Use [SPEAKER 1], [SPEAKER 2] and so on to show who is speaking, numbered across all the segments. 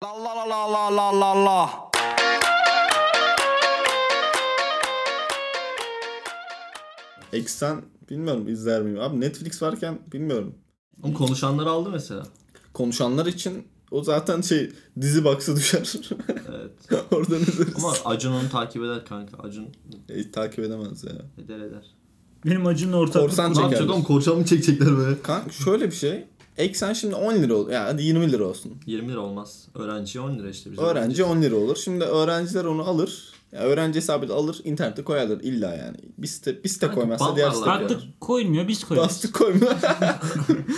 [SPEAKER 1] La la la la la la la la.
[SPEAKER 2] Eksen bilmiyorum izler miyim? Abi Netflix varken bilmiyorum.
[SPEAKER 3] Oğlum konuşanları aldı mesela.
[SPEAKER 2] Konuşanlar için o zaten şey dizi baksı düşer.
[SPEAKER 3] Evet.
[SPEAKER 2] Oradan izleriz.
[SPEAKER 3] Ama Acun onu takip eder kanka. Acun
[SPEAKER 2] E, takip edemez ya.
[SPEAKER 3] eder eder.
[SPEAKER 4] Benim acının ortak.
[SPEAKER 2] Korsan
[SPEAKER 3] Ne
[SPEAKER 2] çeker.
[SPEAKER 3] yapacak oğlum? Korçalı mı çekecekler böyle?
[SPEAKER 2] Kanka şöyle bir şey. Eksen şimdi 10 lira olur. Ya hadi 20 lira olsun.
[SPEAKER 3] 20 lira olmaz. Öğrenciye 10 lira işte. Bize
[SPEAKER 2] Öğrenci 10 lira olur. Şimdi öğrenciler onu alır. Ya öğrenci hesabıyla alır, internete koyarlar illa yani. Bir site, bir site koymazsa diğer site
[SPEAKER 3] banlarlar
[SPEAKER 2] koyar.
[SPEAKER 3] ya.
[SPEAKER 4] Artık koymuyor biz koyuyoruz.
[SPEAKER 2] Bastık koyma.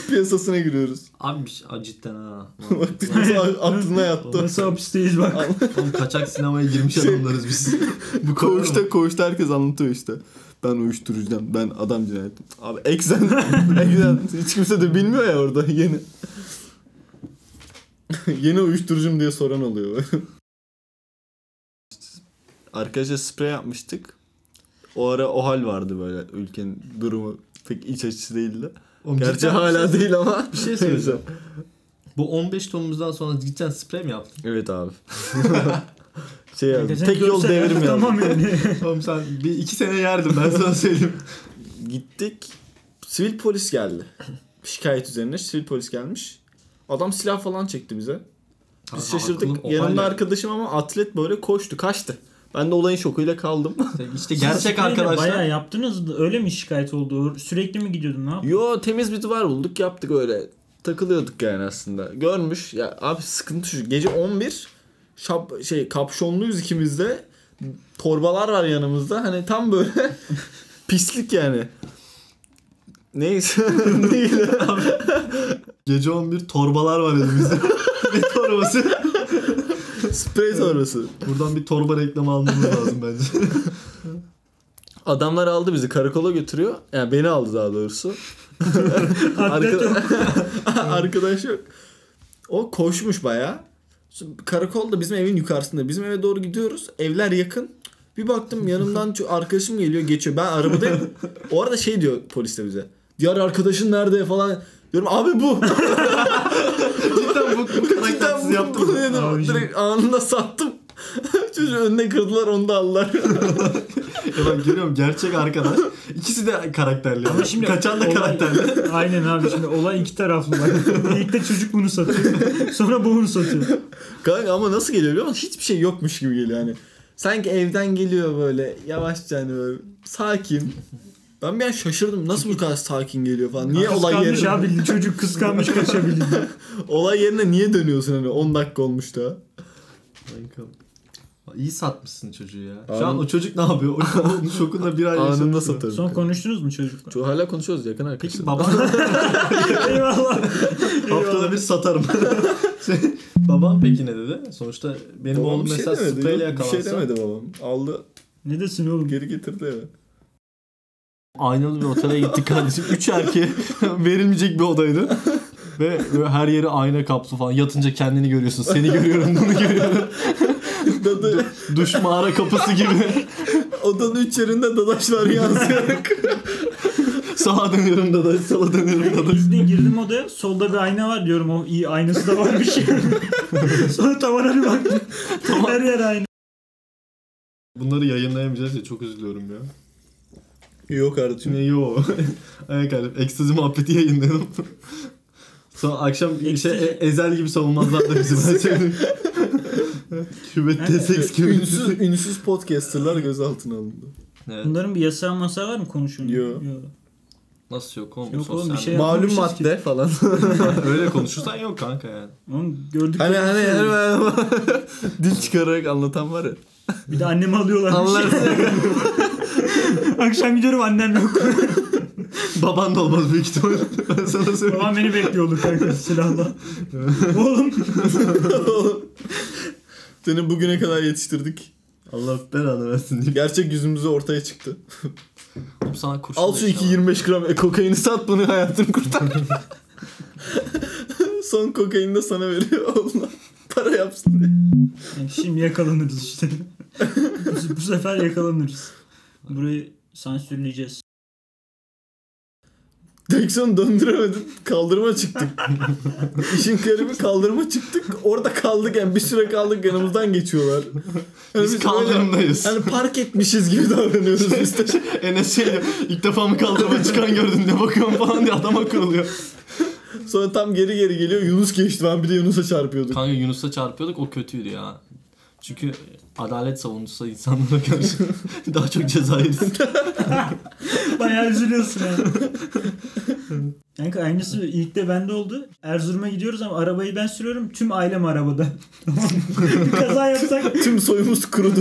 [SPEAKER 2] Piyasasına giriyoruz.
[SPEAKER 3] Abi bir şey- Aa, cidden ha.
[SPEAKER 2] Baktığımızda aklına yattı.
[SPEAKER 4] Nasıl hapisteyiz bak.
[SPEAKER 3] Oğlum kaçak sinemaya girmiş adamlarız biz. Bu kadar mı?
[SPEAKER 2] Koğuşta koğuşta herkes anlatıyor işte. Ben uyuşturucudan, ben adam cinayetim. Abi eksen, eksen hiç kimse de bilmiyor ya orada yeni. yeni uyuşturucum diye soran oluyor. Arkadaşlar sprey yapmıştık. O ara o hal vardı böyle ülkenin durumu pek iç açıcı değildi.
[SPEAKER 3] Oğlum
[SPEAKER 2] Gerçi
[SPEAKER 3] cidden şey
[SPEAKER 2] hala değil ama.
[SPEAKER 3] Bir şey söyleyeceğim. Bu 15 Temmuz'dan sonra cidden sprey mi yaptın?
[SPEAKER 2] Evet abi. şey yazdım,
[SPEAKER 4] Sen
[SPEAKER 2] tek yol
[SPEAKER 4] görsen
[SPEAKER 2] devrim yazdım.
[SPEAKER 4] Tamam yani.
[SPEAKER 3] Oğlum sen bir iki sene yerdim ben sana söyleyeyim.
[SPEAKER 2] Gittik. Sivil polis geldi. Şikayet üzerine sivil polis gelmiş. Adam silah falan çekti bize. Biz şaşırdık. Yanımda arkadaşım ama atlet böyle koştu, kaçtı. Ben de olayın şokuyla kaldım.
[SPEAKER 3] İşte gerçek
[SPEAKER 4] Siz böyle Bayağı
[SPEAKER 3] arkadaşlar.
[SPEAKER 4] yaptınız da öyle mi şikayet oldu? Sürekli mi gidiyordun ne yaptın?
[SPEAKER 2] Yo temiz bir duvar bulduk yaptık öyle. Takılıyorduk yani aslında. Görmüş. Ya abi sıkıntı şu. Gece 11 şap, şey kapşonluyuz ikimiz de. Torbalar var yanımızda. Hani tam böyle pislik yani. Neyse. Değil.
[SPEAKER 3] Gece 11 torbalar var elimizde. bir torbası.
[SPEAKER 2] Sprey torbası.
[SPEAKER 3] Buradan bir torba reklamı almamız lazım bence.
[SPEAKER 2] Adamlar aldı bizi karakola götürüyor. Yani beni aldı daha doğrusu.
[SPEAKER 4] Atlet yok.
[SPEAKER 2] Arkadaş yok. O koşmuş baya. Karakol da bizim evin yukarısında. Bizim eve doğru gidiyoruz. Evler yakın. Bir baktım yanımdan ço- arkadaşım geliyor geçiyor. Ben arabadayım. O arada şey diyor polis de bize. Diğer arkadaşın nerede falan. Diyorum abi bu.
[SPEAKER 3] cidden bu, bu karakter
[SPEAKER 2] Cidden
[SPEAKER 3] sizi
[SPEAKER 2] bu,
[SPEAKER 3] yaptı
[SPEAKER 2] bu
[SPEAKER 3] mı?
[SPEAKER 2] dedim.
[SPEAKER 4] Abiciğim.
[SPEAKER 2] Direkt anında sattım. Çocuğu önüne kırdılar onu da aldılar.
[SPEAKER 3] Ya ben görüyorum gerçek arkadaş. İkisi de karakterli.
[SPEAKER 4] Ama şimdi
[SPEAKER 3] Kaçan da
[SPEAKER 4] olay-
[SPEAKER 3] karakterli.
[SPEAKER 4] Aynen abi şimdi olay iki taraflı bak. İlk de çocuk bunu satıyor. Sonra bu bunu satıyor.
[SPEAKER 2] Kanka ama nasıl geliyor biliyor musun? Hiçbir şey yokmuş gibi geliyor hani. Sanki evden geliyor böyle yavaşça hani böyle sakin. Ben bir an şaşırdım. Nasıl bu kadar sakin geliyor falan. Niye olay
[SPEAKER 4] kıskanmış
[SPEAKER 2] yerine,
[SPEAKER 4] abi çocuk kıskanmış kaçabildi.
[SPEAKER 2] olay yerine niye dönüyorsun hani 10 dakika olmuş da.
[SPEAKER 3] İyi satmışsın çocuğu ya. Şu
[SPEAKER 2] Anın-
[SPEAKER 3] an o çocuk ne yapıyor? O, onun şokunda bir ay
[SPEAKER 2] Anında
[SPEAKER 3] yaşadı.
[SPEAKER 2] satarım.
[SPEAKER 4] Son konuştunuz mu çocukla?
[SPEAKER 2] Çok hala konuşuyoruz yakın arkadaşlar.
[SPEAKER 3] Peki baban
[SPEAKER 4] Eyvallah.
[SPEAKER 3] haftada bir satarım. Şey, babam peki ne dedi? Sonuçta benim
[SPEAKER 2] Babam
[SPEAKER 3] oğlum
[SPEAKER 2] bir şey
[SPEAKER 3] mesela
[SPEAKER 2] demedi,
[SPEAKER 3] spreyle
[SPEAKER 2] yok, Bir
[SPEAKER 3] yakalansa.
[SPEAKER 2] şey demedi babam. Aldı
[SPEAKER 4] Ne desin oğlum?
[SPEAKER 2] geri getirdi eve.
[SPEAKER 3] Aynalı bir otele gittik kardeşim. Üç erkeğe verilmeyecek bir odaydı. Ve böyle her yeri ayna kaplı falan. Yatınca kendini görüyorsun. Seni görüyorum, bunu görüyorum.
[SPEAKER 2] Dadı,
[SPEAKER 3] Duş mağara kapısı gibi.
[SPEAKER 2] odanın üç yerinde dadaşlar yansıyarak.
[SPEAKER 3] Sağa dönüyorum dadaş, sola dönüyorum dadaş.
[SPEAKER 4] Biz de girdim odaya. Solda bir ayna var diyorum. O iyi aynası da varmış. Sonra tavana bir baktım. Her yer aynı.
[SPEAKER 3] Bunları yayınlayamayacağız ya çok üzülüyorum ya.
[SPEAKER 2] Yok kardeşim.
[SPEAKER 3] Ne yo. Ayak alıp ekstazi muhabbeti yayınladım. Sonra akşam şey,
[SPEAKER 4] Ekstazi.
[SPEAKER 3] e- ezel gibi savunmazlar da bizi ben söyleyeyim. Kübette seks kübette.
[SPEAKER 2] Ünsüz, ünsüz podcasterlar gözaltına alındı.
[SPEAKER 3] Evet.
[SPEAKER 4] Bunların bir yasağı masa var mı konuşun?
[SPEAKER 2] Yok.
[SPEAKER 3] Nasıl yok oğlum?
[SPEAKER 4] Yok oğlum, bir
[SPEAKER 3] sosyal
[SPEAKER 4] şey-
[SPEAKER 3] medya?
[SPEAKER 2] Malum
[SPEAKER 4] konuşacağız
[SPEAKER 2] madde falan.
[SPEAKER 3] Öyle konuşursan yok kanka yani.
[SPEAKER 4] Oğlum gördük.
[SPEAKER 2] Hani hani hani ben- dil çıkararak anlatan var ya.
[SPEAKER 4] Bir şey de annemi alıyorlar.
[SPEAKER 2] Anlarsın.
[SPEAKER 4] Akşam gidiyorum annem yok.
[SPEAKER 3] Baban da olmaz büyük ihtimal. Ben sana söyleyeyim.
[SPEAKER 4] Babam beni bekliyordu kanka silahla. Oğlum.
[SPEAKER 2] Seni bugüne kadar yetiştirdik.
[SPEAKER 3] Allah belanı versin diye.
[SPEAKER 2] Gerçek yüzümüzü ortaya çıktı.
[SPEAKER 3] Oğlum sana kurşun
[SPEAKER 2] Al şu
[SPEAKER 3] da işte
[SPEAKER 2] 2-25 gram e, kokaini sat bunu hayatını kurtar. Son kokaini de sana veriyor oğlum. Para yapsın diye.
[SPEAKER 4] Yani şimdi yakalanırız işte. bu, bu sefer yakalanırız. Burayı sansürleyeceğiz.
[SPEAKER 2] Direksiyonu döndüremedim. Kaldırıma çıktık. İşin garibi kaldırıma çıktık. Orada kaldık yani bir süre kaldık yanımızdan geçiyorlar. Yani
[SPEAKER 3] Biz
[SPEAKER 2] böyle-
[SPEAKER 3] kaldırımdayız.
[SPEAKER 2] Yani park etmişiz gibi davranıyoruz biz de.
[SPEAKER 3] Enes şey diyor, ilk defa mı kaldırıma çıkan gördün ne bakıyorsun falan diye adama kırılıyor.
[SPEAKER 2] Sonra tam geri geri geliyor. Yunus geçti. Ben bir de Yunus'a çarpıyordum.
[SPEAKER 3] Kanka Yunus'a çarpıyorduk o kötüydü ya. Çünkü adalet savunucusu insanlara karşı daha çok ceza yeriz.
[SPEAKER 4] Bayağı üzülüyorsun yani. Kanka aynısı ilk de bende oldu. Erzurum'a gidiyoruz ama arabayı ben sürüyorum. Tüm ailem arabada. Tamam mı? bir kaza yapsak
[SPEAKER 2] Tüm soyumuz kurudu.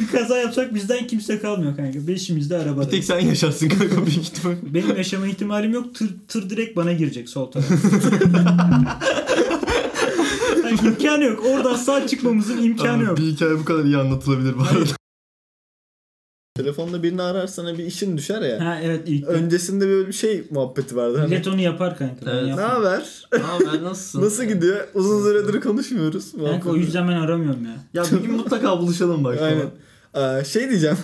[SPEAKER 4] bir kaza yapsak bizden kimse kalmıyor kanka. Beşimiz de arabada.
[SPEAKER 3] Bir tek sen yaşarsın kanka büyük ihtimal.
[SPEAKER 4] Benim yaşama ihtimalim yok. Tır, tır direkt bana girecek sol tarafa. yani imkanı yok. Oradan sağ çıkmamızın imkanı yok.
[SPEAKER 3] Bir hikaye bu kadar iyi anlatılabilir bu arada.
[SPEAKER 2] Telefonda birini ararsana bir işin düşer ya.
[SPEAKER 4] Ha evet ilk de.
[SPEAKER 2] Öncesinde böyle bir şey muhabbeti vardı. Hani,
[SPEAKER 4] Millet onu yapar kanka. ben
[SPEAKER 3] Evet.
[SPEAKER 2] ne
[SPEAKER 4] yapmam.
[SPEAKER 2] haber?
[SPEAKER 3] Abi nasılsın?
[SPEAKER 2] Nasıl gidiyor? Uzun süredir konuşmuyoruz.
[SPEAKER 4] Kanka o yüzden ben aramıyorum ya.
[SPEAKER 3] Ya bir gün mutlaka buluşalım bak.
[SPEAKER 2] Aynen. Aa, şey diyeceğim.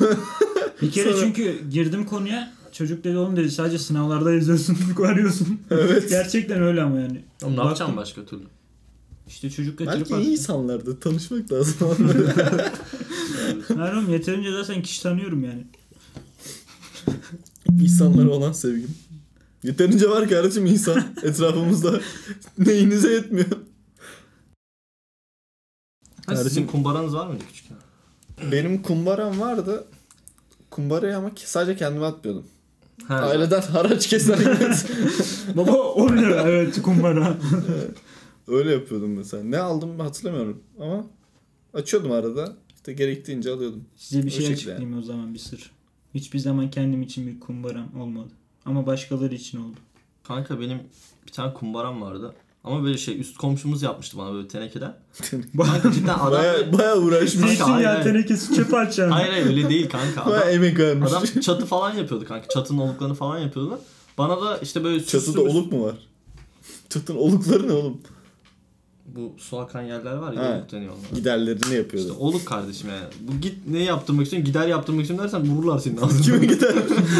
[SPEAKER 4] Bir kere
[SPEAKER 2] Sonra-
[SPEAKER 4] çünkü girdim konuya. Çocuk dedi oğlum dedi sadece sınavlarda yazıyorsun, arıyorsun.
[SPEAKER 2] evet.
[SPEAKER 4] Gerçekten öyle ama yani.
[SPEAKER 3] Oğlum ne
[SPEAKER 4] Baktım,
[SPEAKER 3] yapacağım başka türlü?
[SPEAKER 4] İşte çocuk kaçırıp
[SPEAKER 2] Belki
[SPEAKER 4] attı.
[SPEAKER 2] iyi insanlardı. Tanışmak lazım.
[SPEAKER 4] Hayır oğlum yeterince zaten kişi tanıyorum yani.
[SPEAKER 2] İnsanlara olan sevgim. Yeterince var kardeşim insan etrafımızda. Neyinize yetmiyor.
[SPEAKER 3] Ha, sizin
[SPEAKER 2] Kardeşim-
[SPEAKER 3] kumbaranız var mıydı küçükken?
[SPEAKER 2] Benim kumbaram vardı. Kumbarayı ama ki- sadece kendime atmıyordum.
[SPEAKER 3] Ha.
[SPEAKER 2] Aileden haraç keserken
[SPEAKER 4] Baba 10 lira evet kumbara.
[SPEAKER 2] öyle yapıyordum mesela. Ne aldım hatırlamıyorum ama açıyordum arada. İşte gerektiğince alıyordum.
[SPEAKER 4] Size bir
[SPEAKER 2] O
[SPEAKER 4] şey
[SPEAKER 2] şekilde
[SPEAKER 4] açıklayayım o zaman bir sır. Hiçbir zaman kendim için bir kumbaram olmadı. Ama başkaları için oldu.
[SPEAKER 3] Kanka benim bir tane kumbaram vardı. Ama böyle şey üst komşumuz yapmıştı bana böyle tenekeden. Kanka cidden adam...
[SPEAKER 2] Baya, baya uğraşmış.
[SPEAKER 3] Kanka,
[SPEAKER 4] Zeytin ya
[SPEAKER 3] aynen.
[SPEAKER 4] tenekesi çöp açan.
[SPEAKER 3] Hayır hayır öyle değil kanka. Adam,
[SPEAKER 2] Baya emek vermiş.
[SPEAKER 3] adam çatı falan yapıyordu kanka. Çatının oluklarını falan yapıyordu. Bana da işte böyle süslü
[SPEAKER 2] Çatıda
[SPEAKER 3] müslü-
[SPEAKER 2] oluk mu var? Çatının olukları ne oğlum?
[SPEAKER 3] Bu su akan yerler var ya
[SPEAKER 2] Ha.
[SPEAKER 3] oluk deniyor onlara.
[SPEAKER 2] Giderlerini
[SPEAKER 3] İşte
[SPEAKER 2] yapıyordu.
[SPEAKER 3] oluk kardeşim yani. Bu git ne yaptırmak için gider yaptırmak için dersen vururlar senin ağzına.
[SPEAKER 2] Kime gider?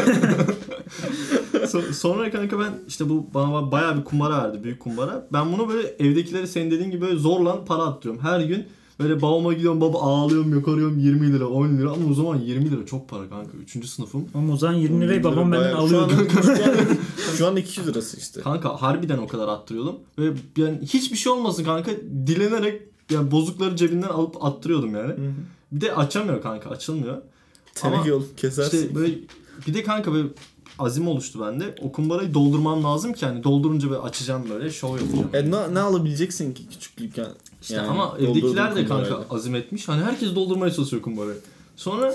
[SPEAKER 3] So- sonra kanka ben işte bu bana bayağı bir kumbara verdi. Büyük kumbara. Ben bunu böyle evdekileri senin dediğin gibi böyle zorla para attırıyorum. Her gün böyle babama gidiyorum baba ağlıyorum yukarıyorum 20 lira 10 lira ama o zaman 20 lira çok para kanka. 3. sınıfım.
[SPEAKER 4] Ama o zaman 20 lirayı babam benden
[SPEAKER 2] Bayağı- şu an-
[SPEAKER 4] alıyordu.
[SPEAKER 2] Şu an, şu an 200 lirası işte.
[SPEAKER 3] Kanka harbiden o kadar attırıyordum. Ve yani hiçbir şey olmasın kanka dilenerek yani bozukları cebinden alıp attırıyordum yani.
[SPEAKER 2] hı.
[SPEAKER 3] Bir de açamıyor kanka açılmıyor.
[SPEAKER 2] Teneke yol kesersin.
[SPEAKER 3] İşte böyle bir de kanka böyle azim oluştu bende. O kumbarayı doldurmam lazım ki hani doldurunca böyle açacağım böyle şov yapacağım.
[SPEAKER 2] E ne, ne alabileceksin ki küçüklük yani?
[SPEAKER 3] İşte
[SPEAKER 2] Yani
[SPEAKER 3] ama
[SPEAKER 2] doldurdum
[SPEAKER 3] evdekiler de kanka
[SPEAKER 2] kumbarayla.
[SPEAKER 3] azim etmiş. Hani herkes doldurmaya çalışıyor kumbarayı. Sonra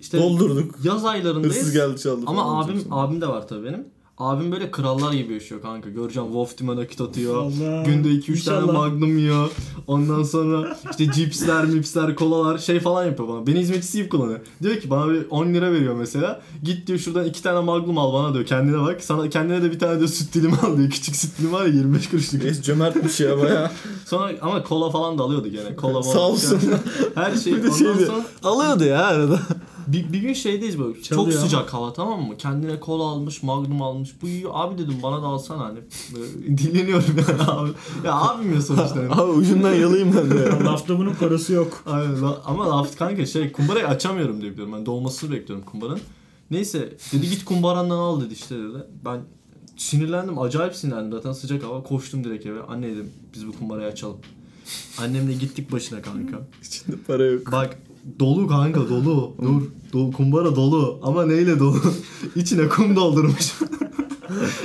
[SPEAKER 3] işte
[SPEAKER 2] Doldurduk.
[SPEAKER 3] yaz
[SPEAKER 2] Hırsız
[SPEAKER 3] aylarındayız.
[SPEAKER 2] geldi çaldı.
[SPEAKER 3] Ama
[SPEAKER 2] falan
[SPEAKER 3] abim
[SPEAKER 2] olacaksın.
[SPEAKER 3] abim de var tabii benim. Abim böyle krallar gibi yaşıyor kanka. Göreceğim Wolf Team'e nakit atıyor.
[SPEAKER 4] Allah.
[SPEAKER 3] Günde 2-3 tane
[SPEAKER 4] İnşallah.
[SPEAKER 3] magnum yiyor. Ondan sonra işte cipsler, mipsler, kolalar şey falan yapıyor bana. Beni hizmetçisi gibi kullanıyor. Diyor ki bana bir 10 lira veriyor mesela. Git diyor şuradan 2 tane magnum al bana diyor. Kendine bak. Sana kendine de bir tane diyor süt dilimi al diyor. Küçük süt dilimi var ya 25 kuruşluk.
[SPEAKER 2] Reis cömertmiş ya baya.
[SPEAKER 3] Sonra ama kola falan da alıyordu gene. Kola mola.
[SPEAKER 2] Sağ olsun.
[SPEAKER 3] Her şey.
[SPEAKER 2] Bir de
[SPEAKER 3] Ondan
[SPEAKER 2] şeydi.
[SPEAKER 3] sonra
[SPEAKER 2] Alıyordu ya arada.
[SPEAKER 3] bir, bir gün şeydeyiz böyle
[SPEAKER 4] Çalıyor
[SPEAKER 3] çok
[SPEAKER 4] ama.
[SPEAKER 3] sıcak hava tamam mı? Kendine kola almış, magnum almış. Bu iyi abi dedim bana da alsana hani. Böyle Dileniyorum yani abi. Ya abim ya sonuçta. yani.
[SPEAKER 2] Abi ucundan yalayayım ben de ya.
[SPEAKER 4] Lafta bunun parası yok.
[SPEAKER 3] Aynen, la- ama laf kanka şey kumbarayı açamıyorum diye biliyorum. Ben doğmasını bekliyorum kumbaranın. Neyse dedi git kumbarandan al dedi işte dedi. Ben sinirlendim acayip sinirlendim zaten sıcak hava koştum direkt eve. Anne dedim biz bu kumbarayı açalım. Annemle gittik başına kanka.
[SPEAKER 2] İçinde para yok.
[SPEAKER 3] Bak dolu kanka dolu. Dur. Dolu, kumbara dolu ama neyle dolu? İçine kum doldurmuş.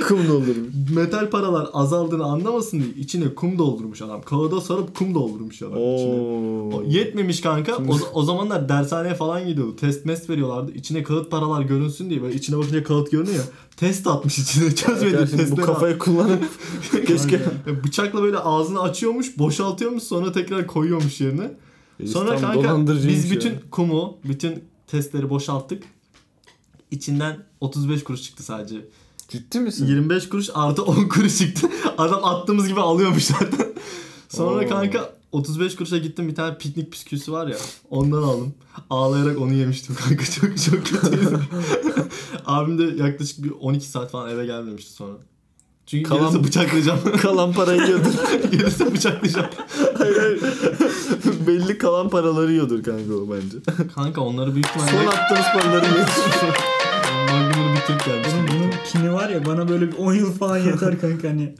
[SPEAKER 2] Kum doldurmuş.
[SPEAKER 3] Metal paralar azaldığını anlamasın diye içine kum doldurmuş adam. Kağıda sarıp kum doldurmuş adam içine.
[SPEAKER 2] Oo.
[SPEAKER 3] Yetmemiş kanka. O, o zamanlar dershaneye falan gidiyordu. Test mest veriyorlardı. İçine kağıt paralar görünsün diye. Böyle içine bakınca kağıt görünüyor. ya. Test atmış içine. Çözmedi
[SPEAKER 2] Arkadaşlar
[SPEAKER 3] testleri.
[SPEAKER 2] bu kafayı kullanıp keşke.
[SPEAKER 3] Bıçakla böyle ağzını açıyormuş, boşaltıyormuş sonra tekrar koyuyormuş yerine.
[SPEAKER 2] Reis
[SPEAKER 3] Sonra
[SPEAKER 2] tam
[SPEAKER 3] kanka
[SPEAKER 2] dolandırıcıymış
[SPEAKER 3] biz
[SPEAKER 2] ya.
[SPEAKER 3] bütün kumu, bütün testleri boşalttık. İçinden 35 kuruş çıktı sadece.
[SPEAKER 2] Ciddi misin?
[SPEAKER 3] 25 kuruş artı 10 kuruş çıktı. Adam attığımız gibi alıyormuş zaten. Sonra
[SPEAKER 2] Oo.
[SPEAKER 3] kanka 35 kuruşa gittim bir tane piknik bisküvisi var ya. Ondan aldım. Ağlayarak onu yemiştim kanka. Çok çok kötüydü. Abim de yaklaşık bir 12 saat falan eve gelmemişti sonra. Çünkü
[SPEAKER 2] Kalan-
[SPEAKER 3] gelirse bıçaklayacağım.
[SPEAKER 2] Kalan parayı yiyordur.
[SPEAKER 3] gelirse bıçaklayacağım.
[SPEAKER 2] Hayır, hayır. Belli kalan paraları yiyordur kanka o bence.
[SPEAKER 3] Kanka onları büyük
[SPEAKER 2] Son
[SPEAKER 3] ihtimalle
[SPEAKER 2] attığımız paraları yiyordur.
[SPEAKER 3] magnumunu bitirip gelmiştim.
[SPEAKER 4] Bunun, bunun kini var ya bana böyle bir 10 yıl falan yeter kanka hani.